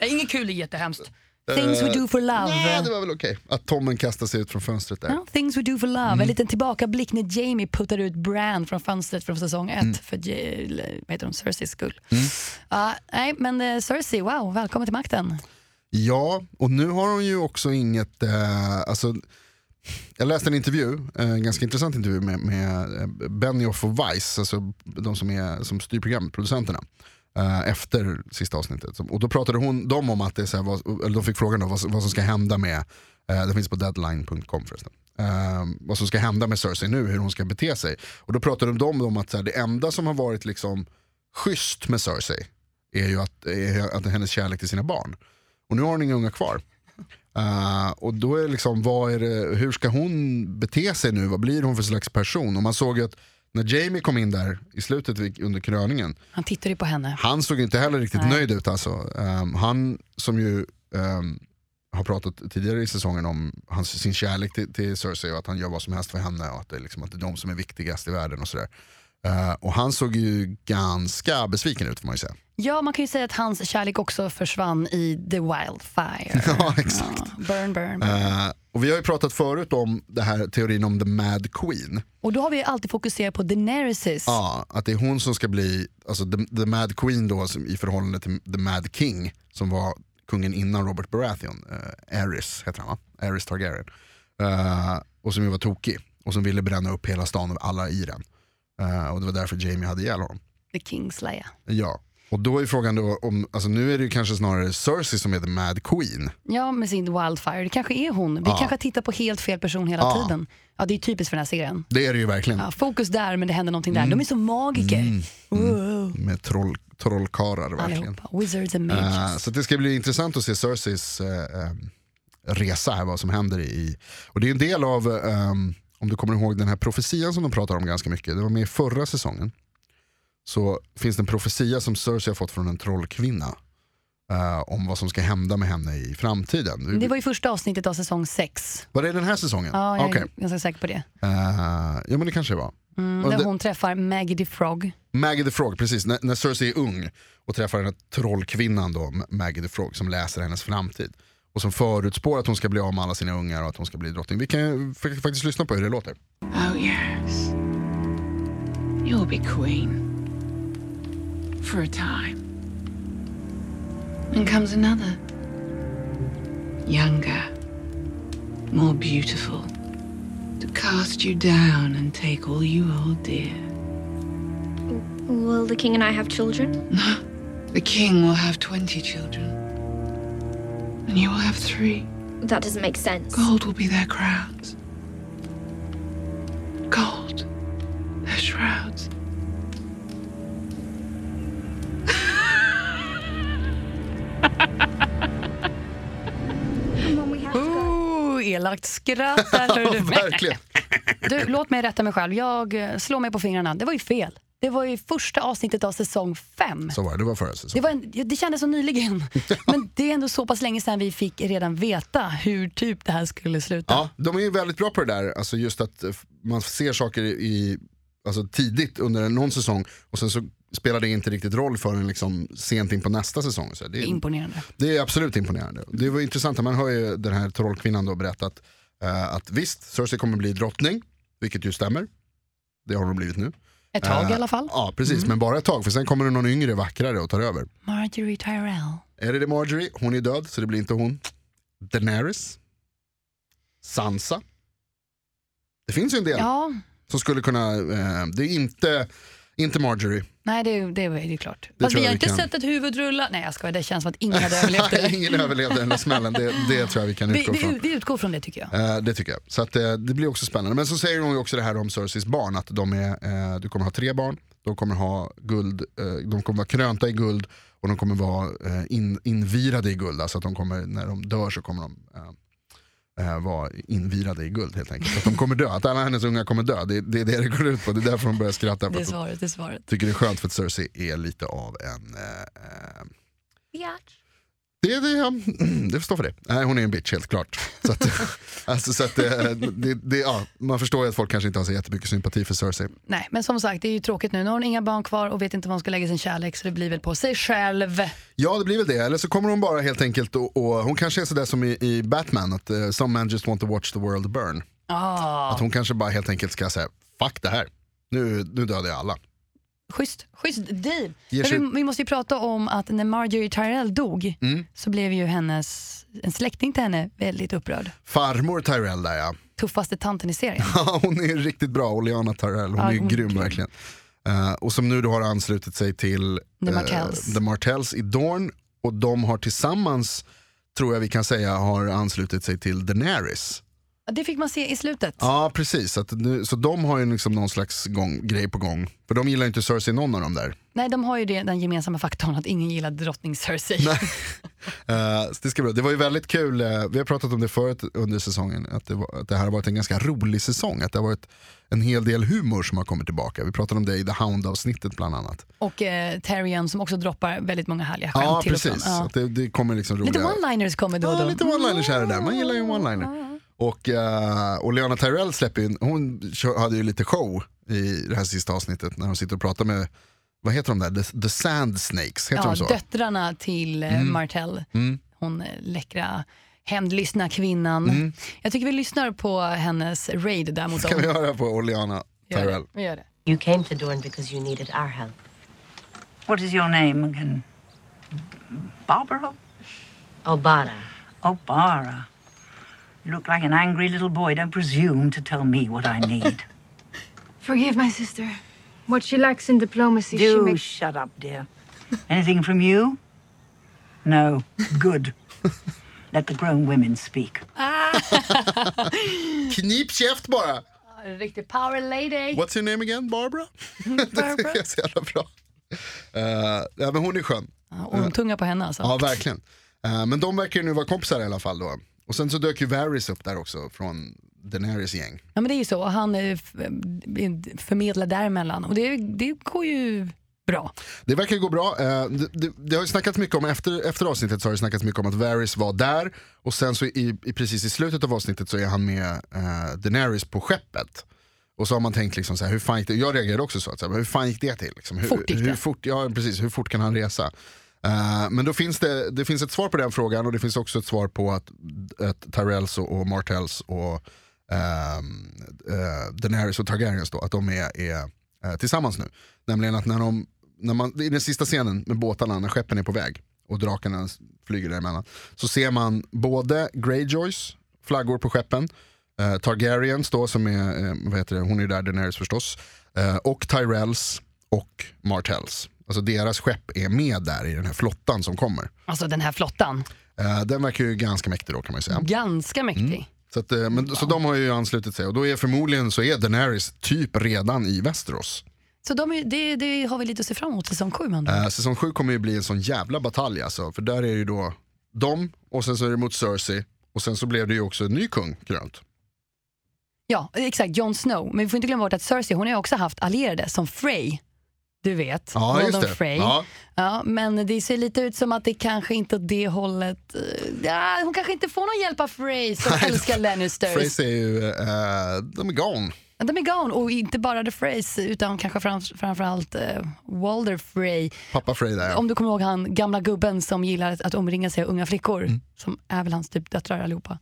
S1: Nej, inget kul är jättehemskt. Things we do for
S2: Eh, Nej, det
S1: love.
S2: var väl okej att Tommen kastade sig ut från fönstret där.
S1: Ja, things we do for love.
S2: Mm.
S1: En liten tillbakablick när Jamie puttar ut Bran från fönstret från säsong
S2: Mm.
S1: ett för J- vad heter de, Cerseys skull. Ja, nej, men eh, Cersei, wow, välkommen till makten.
S2: Ja, och nu har hon ju också inget, eh, alltså, jag läste en intervju, eh, en ganska intressant intervju med, med eh, Benioff och Weiss, alltså de som, är, som styr programproducenterna. eh, Efter sista avsnittet. Som- Och då pratade hon, de om att det är så här, vad, eller de fick frågan då, vad, som- vad som ska hända med, eh, det finns på deadline.com förresten, eh, vad som ska hända med Cersei nu, hur hon ska bete sig. Och då pratade de om att så här, det enda som har varit liksom schysst med Cersei är ju att, är att hennes kärlek till sina barn. Och nu har hon inga unga kvar. Eh, och då är det liksom, vad är det, hur ska hon bete sig nu? Vad blir hon för slags person? Och man såg ju att när Jamie kom in där i slutet vid- under kröningen,
S1: Han tittar ju på henne.
S2: han såg inte heller riktigt
S1: Nej.
S2: nöjd ut alltså. Ehm, han som ju ehm, har pratat tidigare i säsongen om hans, sin kärlek till, till Cersei och att han gör vad som helst för henne och att det, är liksom, att det är de som är viktigast i världen och sådär. Eh, och han såg ju ganska besviken ut får man ju säga.
S1: Ja, man kan ju säga att hans kärlek också försvann i The Wildfire.
S2: ja, exakt.
S1: Ja, burn, burn.
S2: Eh, och vi har ju pratat förut om det här teorin om the mad queen.
S1: Och då har vi ju alltid fokuserat på Daenerys.
S2: Ja, att det är hon som ska bli, alltså the, the mad queen då som, i förhållande till the mad king som var kungen innan Robert Baratheon, uh, Aerys heter han va? Aerys Targaryen. Eh, och som ju var tokig och som ville bränna upp hela stan och alla i den. Eh, och det var därför Jamie hade ihjäl honom.
S1: The Kingslayer.
S2: Ja. Och då är frågan då om, alltså nu är det ju kanske snarare Cersei som är the mad queen.
S1: Ja, med sin Wildfire. Det kanske är hon. Vi kanske tittar på helt fel person hela
S2: Ja.
S1: tiden. Ja, det är typiskt för den här serien.
S2: Det är det ju verkligen.
S1: Ja, fokus där, men det händer någonting
S2: Mm.
S1: där. De är så magiker. Wow.
S2: Med troll, trollkarlar verkligen.
S1: Allihopa. Wizards and
S2: Eh,
S1: mages.
S2: så det ska bli intressant att se Cerseis eh, eh, resa här, vad som händer i... Och det är en del av, eh, om du kommer ihåg den här profetian som de pratar om ganska mycket, det var med i förra säsongen. Så finns det en profetia som Cersei har fått från en trollkvinna eh, om vad som ska hända med henne i framtiden.
S1: Det
S2: var...
S1: var ju första avsnittet av säsong sex.
S2: det den här säsongen?
S1: Ja, jag
S2: Okej.
S1: är ganska säker på det.
S2: Eh, ja men det kanske det var.
S1: Mm,
S2: Och
S1: där
S2: det-
S1: hon träffar Maggie the Frog.
S2: Maggie the Frog, precis. När, när Cersei är ung och träffar den här trollkvinnan då, M- Maggie the Frog, som läser hennes framtid. Och som förutspår att hon ska bli av med alla sina ungar och att hon ska bli drottning. Vi kan ju f- faktiskt lyssna på hur det låter.
S3: Oh, yes. You'll be queen. For a time. Then comes another. Younger. More beautiful. To cast you down and take all you hold dear.
S4: Will the king and I have children?
S3: The king will have 20 children. And you will have three.
S4: That doesn't make sense.
S3: Gold will be their crowns. Gold, their shrouds.
S4: Come on, we have to go.
S1: Oh, elakt skratt. där, hör du.
S2: Verkligen.
S1: Du, låt mig rätta mig själv. Jag eh, slår mig på fingrarna. Det var ju fel. Det var ju första avsnittet av säsong fem.
S2: Så var det, det var förra
S1: Det,
S2: säsongen.
S1: var en, ja, det kändes så nyligen. Men det är ändå så pass länge sedan vi fick redan veta hur typ det här skulle sluta.
S2: Ja, de är ju väldigt bra på det där, alltså just att eh, f- man ser saker i, alltså tidigt under någon säsong och sen så spelar det inte riktigt roll förrän liksom sent in på nästa säsong. Så det, är-
S1: Imponerande.
S2: Det är absolut imponerande. Det var intressant, man hör ju den här trollkvinnan då berätta att, eh, att visst, Cersei kommer bli drottning, vilket ju stämmer. Det har hon blivit nu.
S1: Ett tag
S2: Eh,
S1: i alla fall. Mm.
S2: Ja, precis, men bara ett tag, för sen kommer det någon yngre vackrare och tar över.
S1: Marjorie Tyrell.
S2: Är det det Marjorie? Hon är död, så det blir inte hon. Daenerys? Sansa? Det finns ju en del
S1: Ja,
S2: som skulle kunna, eh, det är inte, inte Marjorie.
S1: nej det, det, är ju klart.
S2: Det
S1: Fast
S2: tror
S1: vi
S2: jag
S1: har
S2: vi
S1: inte
S2: kan.
S1: sett ett huvud rulla. Nej jag skojar, det känns som att ingen hade överlevt det.
S2: Ingen överlevde den där smällen, det, det tror jag vi kan
S1: Vi,
S2: utgå från.
S1: vi, vi utgår från det tycker jag.
S2: Eh, det tycker jag. Så att, eh, det blir också spännande. Men så säger hon ju också det här om Cerseis barn, att de är, eh, du kommer ha tre barn, de kommer, ha guld, eh, de kommer vara krönta i guld och de kommer vara eh, in, invirade i guld. Alltså att de kommer, när de dör så kommer de eh, eh, vara invirade i guld helt enkelt. Så Att de kommer dö, att alla hennes unga kommer dö. Det, det är det det går ut på, det är därför hon börjar skratta.
S1: Det
S2: För
S1: är
S2: att hon
S1: svaret, det är svaret.
S2: tycker det är skönt för att Cersei är lite av en eh, eh,
S4: Biatch.
S2: Det, det, ja, det står för det. Nej, hon är en bitch helt klart. Så att, alltså, så att, eh, det, det, ja, man förstår ju att folk kanske inte har så jättemycket sympati för Cersei.
S1: Nej, men som sagt, det är ju tråkigt nu. Nu har hon inga barn kvar och vet inte var hon ska lägga sin kärlek så det blir väl på sig själv.
S2: Ja, det blir väl det. Eller så kommer hon bara helt enkelt och, och hon kanske är sådär som i, i Batman, att eh, some men just want to watch the world burn.
S1: Ah,
S2: Att hon kanske bara helt enkelt ska säga, fuck det här. Nu, nu dödar jag alla.
S1: schysst, schysst deal.
S2: Ger
S1: Men
S2: sig-
S1: vi, vi måste ju prata om att när Marjorie Tyrell dog
S2: Mm.
S1: så blev ju hennes, en släkting till henne väldigt upprörd.
S2: Farmor Tyrell där ja.
S1: Tuffaste tanten i serien.
S2: Ja, hon är riktigt bra, Oleana Tyrell. Hon
S1: Ja,
S2: är
S1: hon är
S2: grym
S1: grym.
S2: verkligen. Eh, och som nu då har anslutit sig till
S1: The
S2: eh,
S1: Martells.
S2: The Martells i Dorn. Och de har tillsammans, tror jag vi kan säga, har anslutit sig till Daenerys.
S1: Det fick man se i slutet.
S2: Ja, precis. Så, att nu, så de har ju liksom någon slags gång, grej på gång. För de gillar ju inte Cersei, någon av dem där.
S1: Nej, de har ju det, den gemensamma faktorn att ingen gillar drottning Cersei.
S2: Eh, så det, ska bli. bra. det var ju väldigt kul, eh, vi har pratat om det förut under säsongen, att det, var, att det här har varit en ganska rolig säsong. Att det har varit en hel del humor som har kommit tillbaka. Vi pratade om det i The Hound-avsnittet bland annat.
S1: Och eh, Tyrion som också droppar väldigt många härliga skämt
S2: Ja,
S1: till och
S2: precis.
S1: från. Ja.
S2: Att det, det kommer liksom roliga...
S1: Lite one-liners kommer då och då.
S2: Ja, lite one-liners här och där. Man gillar ju en one-liner. Och, eh, och Leona Tyrell släpper ju, en- hon kör- hade ju lite show i det här sista avsnittet när hon sitter och pratar med, vad heter de där, The, the Sand Snakes, heter
S1: ja,
S2: de så? Mm.
S1: döttrarna till eh, Martell. Hon eh, läckra hämndlystna kvinnan. Jag tycker vi lyssnar på hennes raid där mot
S2: Kan
S1: dem.
S2: Mm. vi höra på Oleana
S1: Gör
S2: Tyrell?
S1: det. Vi gör det.
S5: You came to Dorne because you needed our help.
S6: What is your name again? Barbara?
S5: Obata,
S6: Oh, Bara. You look like an angry little boy. Don't presume to tell me what I need.
S7: Forgive my sister. What she lacks in diplomacy, she
S6: Do
S7: makes.
S6: shut up, dear. Anything from you? No. Good. Let the grown women speak.
S2: Knip käft bara!
S1: Riktig power lady.
S2: What's your name again, Barbara? det tycker jag är så jävla bra. Eh, ja, men hon är skön.
S1: Ja, Ormtunga på henne alltså.
S2: Ja, verkligen. Eh, men de verkar ju nu vara kompisar i alla fall då. Och sen så dök ju Varys upp där också från Daenerys gäng.
S1: Ja, men det är ju så. Och Han eh, f- eh, förmedlar däremellan och det, det går ju bra.
S2: Det verkar gå bra. Eh, Det, det, det har ju snackats mycket om, efter, efter avsnittet så har det snackats mycket om att Varys var där och sen så i, i, precis i slutet av avsnittet så är han med eh, Daenerys på skeppet. Och så har man tänkt, liksom så här, hur fan gick det? jag reagerade också så, att, så här, hur fan gick det till? Liksom, hur,
S1: Fort gick det?
S2: Hur fort, ja, precis, hur fort kan han resa? Eh, men då finns det, det finns ett svar på den frågan och det finns också ett svar på att, att Tyrells och, och Martells och ehm, eh, Daenerys och Targaryens då, att de är, är eh, tillsammans nu. Nämligen att när de, när man, i den sista scenen med båtarna, när skeppen är på väg och drakarna s- flyger däremellan, så ser man både Greyjoys flaggor på skeppen, eh, Targaryens då som är, eh, vad heter det, hon är ju där, Daenerys förstås, eh, och Tyrells och Martells. Alltså deras skepp är med där i den här flottan som kommer.
S1: Alltså den här flottan.
S2: Eh, den verkar ju ganska mäktig då kan man ju säga.
S1: Ganska
S2: Mm.
S1: mäktig.
S2: Så, att, eh, men, så de har ju anslutit sig och då är förmodligen så är Daenerys typ redan i Västerås.
S1: Så de, är- det, det har vi lite att se fram emot säsong 7 man.
S2: Eh, säsong 7 kommer ju bli en sån jävla batalj alltså, för där är ju då de och sen så är det mot Cersei och sen så blev det ju också en ny kung grönt.
S1: Ja, exakt. Jon Snow. Men vi får inte glömma bort att Cersei hon har ju också haft allierade som Frey. Du vet,
S2: Ja,
S1: Lord
S2: just
S1: of
S2: det.
S1: Frey.
S2: Ja.
S1: Ja, men det ser lite ut som att det kanske inte åt det hållet... eh, Ja, hon kanske inte får någon hjälp av Frey som älskar Lannisters.
S2: Frey är ju, eh, de är gone.
S1: Men De är gone, och inte bara The Freys utan kanske fram, framförallt eh, Walder Frey.
S2: Pappa Frey där. ja.
S1: Om du kommer ihåg han gamla gubben som gillar att omringa sig av unga flickor, som är väl hans typ döttrar allihopa.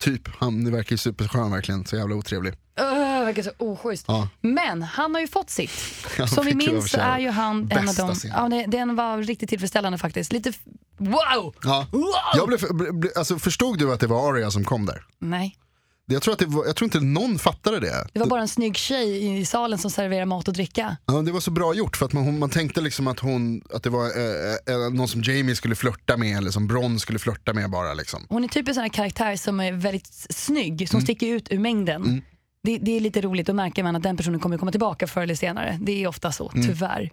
S2: Typ, han verkar ju superskön verkligen, så jävla otrevlig.
S1: Öh, verkar så oschysst.
S2: Ja.
S1: Men han har ju fått sitt.
S2: Han
S1: Som vi
S2: fick ju
S1: minns så
S2: avtjäna
S1: är ju han en av
S2: bästa
S1: dem.
S2: scenen.
S1: Ja, nej, den var riktigt tillfredsställande faktiskt. Lite f- wow!
S2: Ja. Jag blev, ble- alltså, förstod du att det var Arya som kom där?
S1: Nej,
S2: Jag tror, att det var, jag tror inte någon fattade det.
S1: det var bara en snygg tjej i salen som serverar mat och dricka.
S2: Ja, det var så bra gjort för att man, hon, man tänkte liksom att, hon, att det var eh, eh, någon som Jamie skulle flörta med eller som Bronn skulle flörta med bara. Liksom.
S1: Hon är typ en sån här karaktär som är väldigt s- snygg, som sticker ut ur mängden. det, det är lite roligt, då märker man att den personen kommer komma tillbaka förr eller senare. Det är ofta så, tyvärr.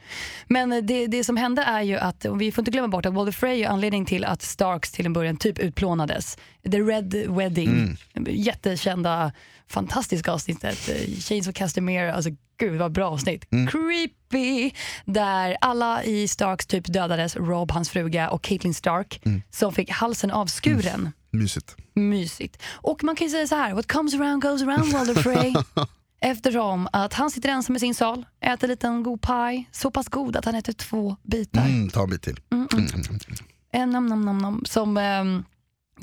S1: Men eh, det, det som hände är ju att, och vi får inte glömma bort att Walder Frey är anledning till att Starks till en början typ utplånades. The Red Wedding, jättekända, fantastiska avsnittet. Eh, Chains of Castamere, alltså gud vad bra avsnitt. Creepy! Där alla i Starks typ dödades, Rob, hans fruga och Caitlyn Stark som fick halsen avskuren
S2: Mysigt.
S1: mysigt. Och man kan ju säga så här, what comes around goes around Walder Frey. Eftersom att han sitter ensam i sin sal, äter lite en god paj, så pass god att han äter två bitar.
S2: Mm, ta en bit till. Mm,
S1: En Eh, nam, nam, nam, nam, som ehm,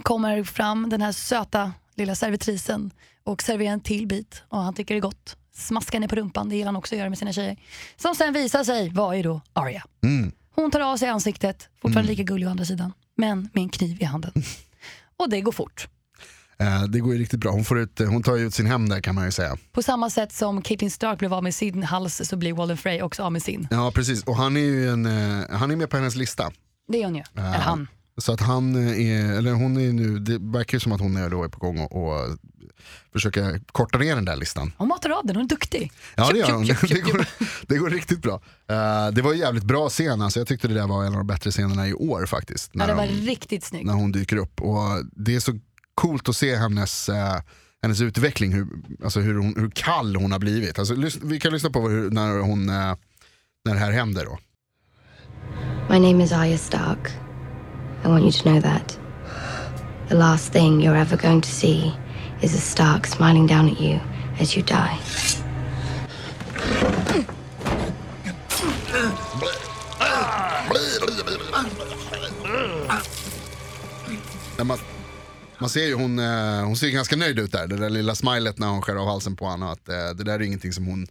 S1: kommer fram, den här söta lilla servitrisen och serverar en till bit och han tycker det är gott. Smaskar ner på rumpan, det gillar han också att göra med sina tjejer. Som sen visar sig vara ju då Arya. Hon tar av sig ansiktet, fortfarande lika gullig å andra sidan, men med en kniv i handen. Och det går fort.
S2: Eh, det går ju riktigt bra. Hon, får ut, hon tar ju ut sin hem där kan man ju säga.
S1: På samma sätt som Caitlyn Stark blev av med sin hals så blir Walden Frey också av med sin.
S2: Ja precis, och han är ju en, eh, han är med på hennes lista.
S1: Det är hon ju. Eller han.
S2: Så att han eh, är, eller hon är nu, det verkar ju som att hon är, då är på gång och, och försöka korta ner den där listan.
S1: Hon matar av den, hon är duktig.
S2: Ja det gör
S1: Tjup,
S2: hon,
S1: tjup, tjup,
S2: det
S1: tjup, tjup.
S2: går, det går riktigt bra. Eh, det var en jävligt bra scen, alltså. jag tyckte det där var en av de bättre scenerna i år faktiskt.
S1: Ja,
S2: När
S1: den var
S2: de-
S1: riktigt snygg.
S2: när hon dyker upp. Och det är så coolt att se hennes, eh, hennes utveckling, hur, alltså hur, hon, hur kall hon har blivit. Alltså, lys- vi kan lyssna på hur, när, hon, eh, när det här händer. Då.
S4: My name is Arya Stark. I want you to know that. The last thing you're ever going to see is a Stark smiling down at you as you die.
S2: När man, man ser ju hon, eh, hon ser ju ganska nöjd ut där, det där lilla smilet när hon skär av halsen på honom. Att, eh, det där är ingenting som hon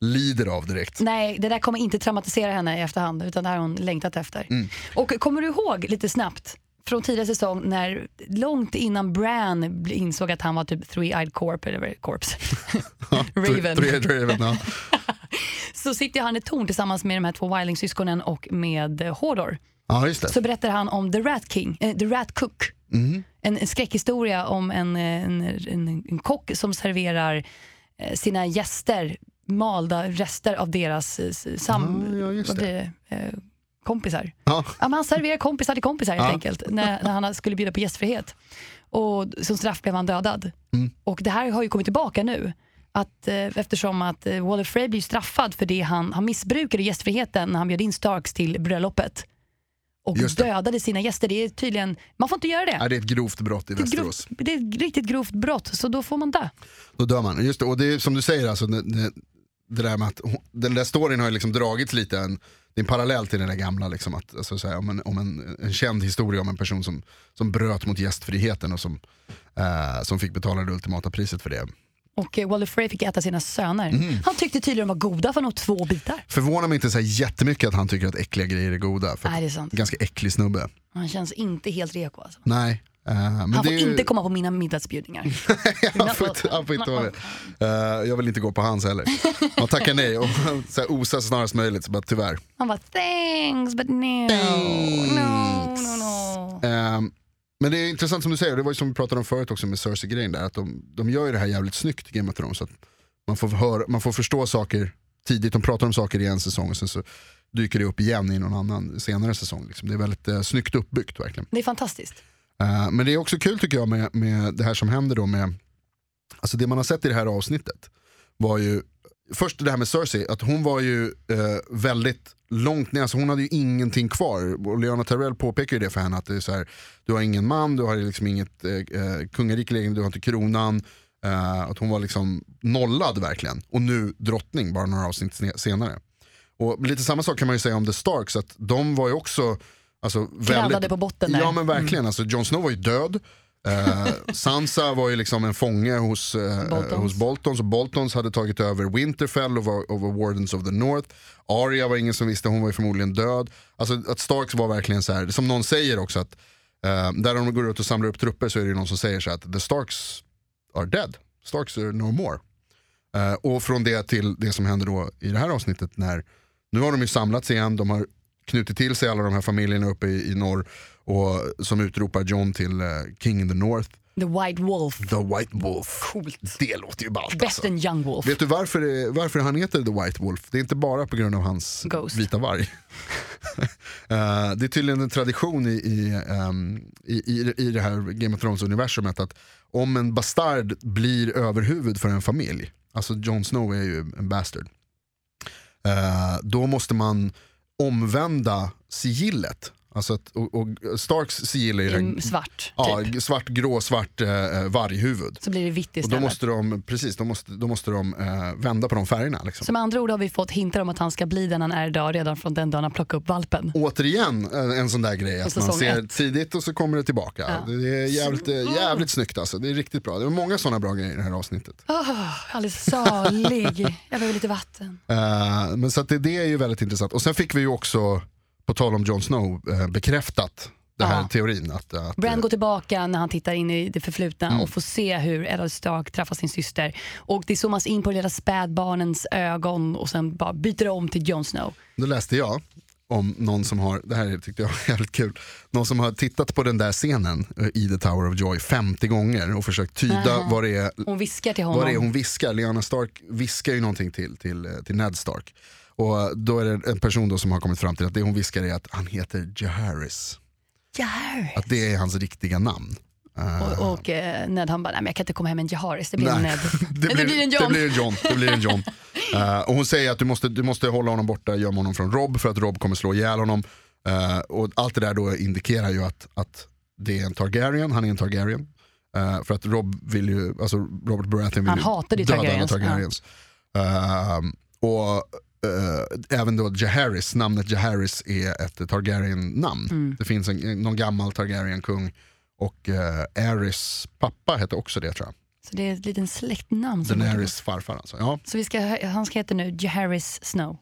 S2: lider av direkt.
S1: Nej, det där kommer inte traumatisera henne i efterhand utan det här har hon längtat efter. Och kommer du ihåg lite snabbt från tidigare säsong när långt innan Bran bl- insåg att han var typ three-eyed corp, eller vad är det? corpse, Raven,
S2: Tre, tre, Raven ja.
S1: så sitter han i ett torn tillsammans med de här två Wilding-syskonen och med eh, Hodor.
S2: ja, just det. Mhm.
S1: så berättar han om The Rat King, eh, The Rat Cook. En, en skräckhistoria om en, eh, en, en, en kock som serverar eh, sina gäster malda rester av deras eh, s- sam...
S2: Ja, ja, just
S1: vad
S2: det.
S1: blir det? Eh, kompisar.
S2: Ja.
S1: Ja, men han serverar kompisar till kompisar helt
S2: Ja.
S1: enkelt när, när han skulle bjuda på gästfrihet. Och som straff blev han dödad.
S2: Mm.
S1: Och det här har ju kommit tillbaka nu. Att, eh, eftersom att eh, Waller Frey blir straffad för det han, han missbrukade gästfriheten när han bjöd in Starks till bröllopet. Och
S2: Just det.
S1: dödade sina gäster. Det är tydligen, man får inte göra det.
S2: Ja, det är ett grovt brott
S1: det,
S2: i
S1: är ett
S2: Västerås.
S1: grovt, det är ett riktigt grovt brott, så då får man dö.
S2: Då dör man. Just det, och det är som du säger, alltså, det, det, det där med att hon- den där storyn har ju liksom dragits lite, en, det är en parallell till den där gamla, liksom, att, alltså, så här, om, en, om en, en känd historia om en person som, som bröt mot gästfriheten och som, eh, som fick betala det ultimata priset för det.
S1: Och eh, Waller Frey fick äta sina söner.
S2: Mhm.
S1: Han tyckte tydligen de var goda för nog två bitar.
S2: Förvånar mig inte så här jättemycket att han tycker att äckliga grejer är goda, för
S1: Nej, det är sant.
S2: ganska äcklig snubbe.
S1: Han känns inte helt reko alltså.
S2: Nej. eh, men
S1: Han får
S2: det är ju-
S1: inte komma på mina middagsbjudningar.
S2: han, får inte, han får inte vara med. Eh, jag vill inte gå på hans heller. Man tackar nej och så här, osar snarast möjligt, så bara, tyvärr.
S1: Han bara thanks but no. No, no, no.
S2: Ehm, men det är intressant som du säger, och det var ju som vi pratade om förut också med Cersei-grejen där, att de, de gör ju det här jävligt snyggt Game of Thrones. Så att man, får höra, man får förstå saker tidigt, de pratar om saker i en säsong och sen så dyker det upp igen i någon annan senare säsong. Liksom. Det är väldigt eh, snyggt uppbyggt verkligen.
S1: Det är fantastiskt.
S2: Eh, men det är också kul tycker jag med, med det här som händer då med, alltså det man har sett i det här avsnittet var ju, först det här med Cersei, att hon var ju eh, väldigt långt ner, alltså hon hade ju ingenting kvar. Och Leona Terrell påpekar ju det för henne, att det är så här, du har ingen man, du har liksom inget eh, eh, kungarike längre, du har inte kronan. Eh, att hon var liksom nollad verkligen, och nu drottning bara några avsnitt sne- senare. Och lite samma sak kan man ju säga om The Starks, att de var ju också Alltså, väldigt,
S1: på botten där.
S2: Ja men verkligen, alltså, Jon Snow var ju död. Eh, Sansa var ju liksom en fånge hos, eh,
S1: Boltons.
S2: hos Boltons och Boltons hade tagit över Winterfell och var, och var Wardens of the North. Arya var ingen som visste, hon var ju förmodligen död. Alltså att Starks var verkligen så här, som någon säger också att eh, där de går ut och samlar upp trupper så är det ju någon som säger så här att the Starks are dead, Starks are no more. Eh, och från det till det som händer då i det här avsnittet när nu har de ju samlats igen, de har knutit till sig alla de här familjerna uppe i, i norr och som utropar John till eh, King in the North.
S1: The White Wolf.
S2: The White Wolf. Det låter ju ballt
S1: Bäst
S2: alltså.
S1: än Young Wolf.
S2: Vet du varför, det- varför han heter The White Wolf? Det är inte bara på grund av hans
S1: Ghost.
S2: vita varg. Eh, det är tydligen en tradition i, i, ehm, i, i, i det här Game of Thrones-universumet att om en bastard blir överhuvud för en familj, alltså Jon Snow är ju en bastard, eh, då måste man omvända sigillet. Alltså att, och, och Starks sigill är ju
S1: I
S2: den-
S1: svart,
S2: ja,
S1: typ.
S2: svart, grå, svart eh, varghuvud.
S1: Så blir det vitt
S2: Och då
S1: istället.
S2: måste de, precis, då måste, då måste de eh, vända på de färgerna. Liksom.
S1: Så med andra ord har vi fått hintar om att han ska bli den han är idag redan från den dagen han plockade upp valpen.
S2: Återigen en, en sån där grej att
S1: säsong
S2: man ser
S1: ett.
S2: tidigt och så kommer det tillbaka.
S1: Ja. Mm.
S2: Det är jävligt, eh, jävligt snyggt alltså, det är riktigt bra. Det var många såna bra grejer i det här avsnittet.
S1: Oh, alldeles salig. Jag behöver lite vatten.
S2: Eh, men så att det, det är ju väldigt intressant. Och sen fick vi ju också, på tal om Jon Snow, eh, bekräftat den här
S1: Ja.
S2: teorin. Att, att,
S1: Bran går tillbaka när han tittar in i det förflutna
S2: Mm.
S1: och får se hur Eddard Stark träffar sin syster. Och Det zoomas in på det lilla spädbarnens ögon och sen bara byter det om till Jon Snow.
S2: Då läste jag om någon som har, det här tyckte jag var jävligt kul, någon som har tittat på den där scenen eh, i The Tower of Joy 50 gånger och försökt tyda
S1: Aha.
S2: vad det är
S1: Hon viskar till honom.
S2: vad det är hon viskar. Lyanna Stark viskar ju någonting till, till, eh, till Ned Stark. Och då är det en person då som har kommit fram till att det hon viskar är att han heter Jaharis.
S1: Jaharis.
S2: Att det är hans riktiga namn. Eh,
S1: Och, och eh, Ned han bara, nej men jag kan inte komma hem med en Jaharis, det blir
S2: nej.
S1: en Ned.
S2: det,
S1: Men det blir en John.
S2: det blir en John. Det blir en John. Eh, och hon säger att du måste, du måste hålla honom borta, gömma honom från Rob för att Rob kommer slå ihjäl honom. Eh, och allt det där då indikerar ju att, att det är en Targaryen, han är en Targaryen. Eh, för att Rob vill ju, alltså Robert Baratheon vill
S1: Han hatade ju
S2: döda
S1: Targaryens,
S2: alla Targaryens. Ehm, och eh, även då Jaharis, namnet Jaharis är ett Targaryen-namn.
S1: Mm.
S2: Det finns en, en- någon gammal Targaryen-kung och uh, Aerys pappa hette också det tror jag.
S1: Så det är ett litet släktnamn. som-
S2: Daenerys farfar alltså. Ja.
S1: Så vi ska, han ska heta nu Jaharis Snow.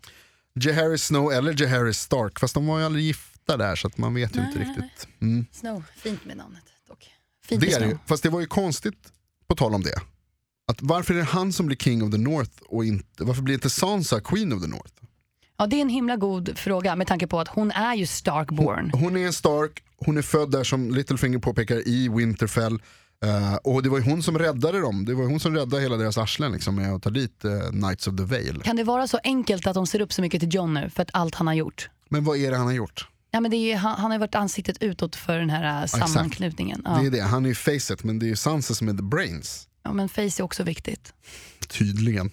S2: Jaharis Snow eller Jaharis Stark, fast de var ju aldrig gifta där så att man vet ju inte
S1: Nej.
S2: riktigt. Mm.
S1: Snow, fint med namnet dock. Fint
S2: Det
S1: med
S2: är det,
S1: Snow.
S2: ju. fast det var ju konstigt, på tal om det, att varför är det han som blir King of the North och inte, varför blir inte Sansa Queen of the North?
S1: Ja, det är en himla god fråga med tanke på att hon är ju Starkborn.
S2: Hon är en Stark, hon är född där som Littlefinger påpekar i Winterfell. Eh, och det var ju hon som räddade dem, det var ju hon som räddade hela deras arslen liksom, med att ta dit eh, Knights of the Vale.
S1: Kan det vara så enkelt att de ser upp så mycket till John nu för att allt han har gjort?
S2: Men vad är det han har gjort?
S1: Ja, men det är, ju- han, han har ju varit ansiktet utåt för den här äh,
S2: exakt.
S1: sammanknutningen. Ja.
S2: Det är det, han är ju facet men det är ju Sansa som är the brains.
S1: Ja, men face är också viktigt.
S2: Tydligen.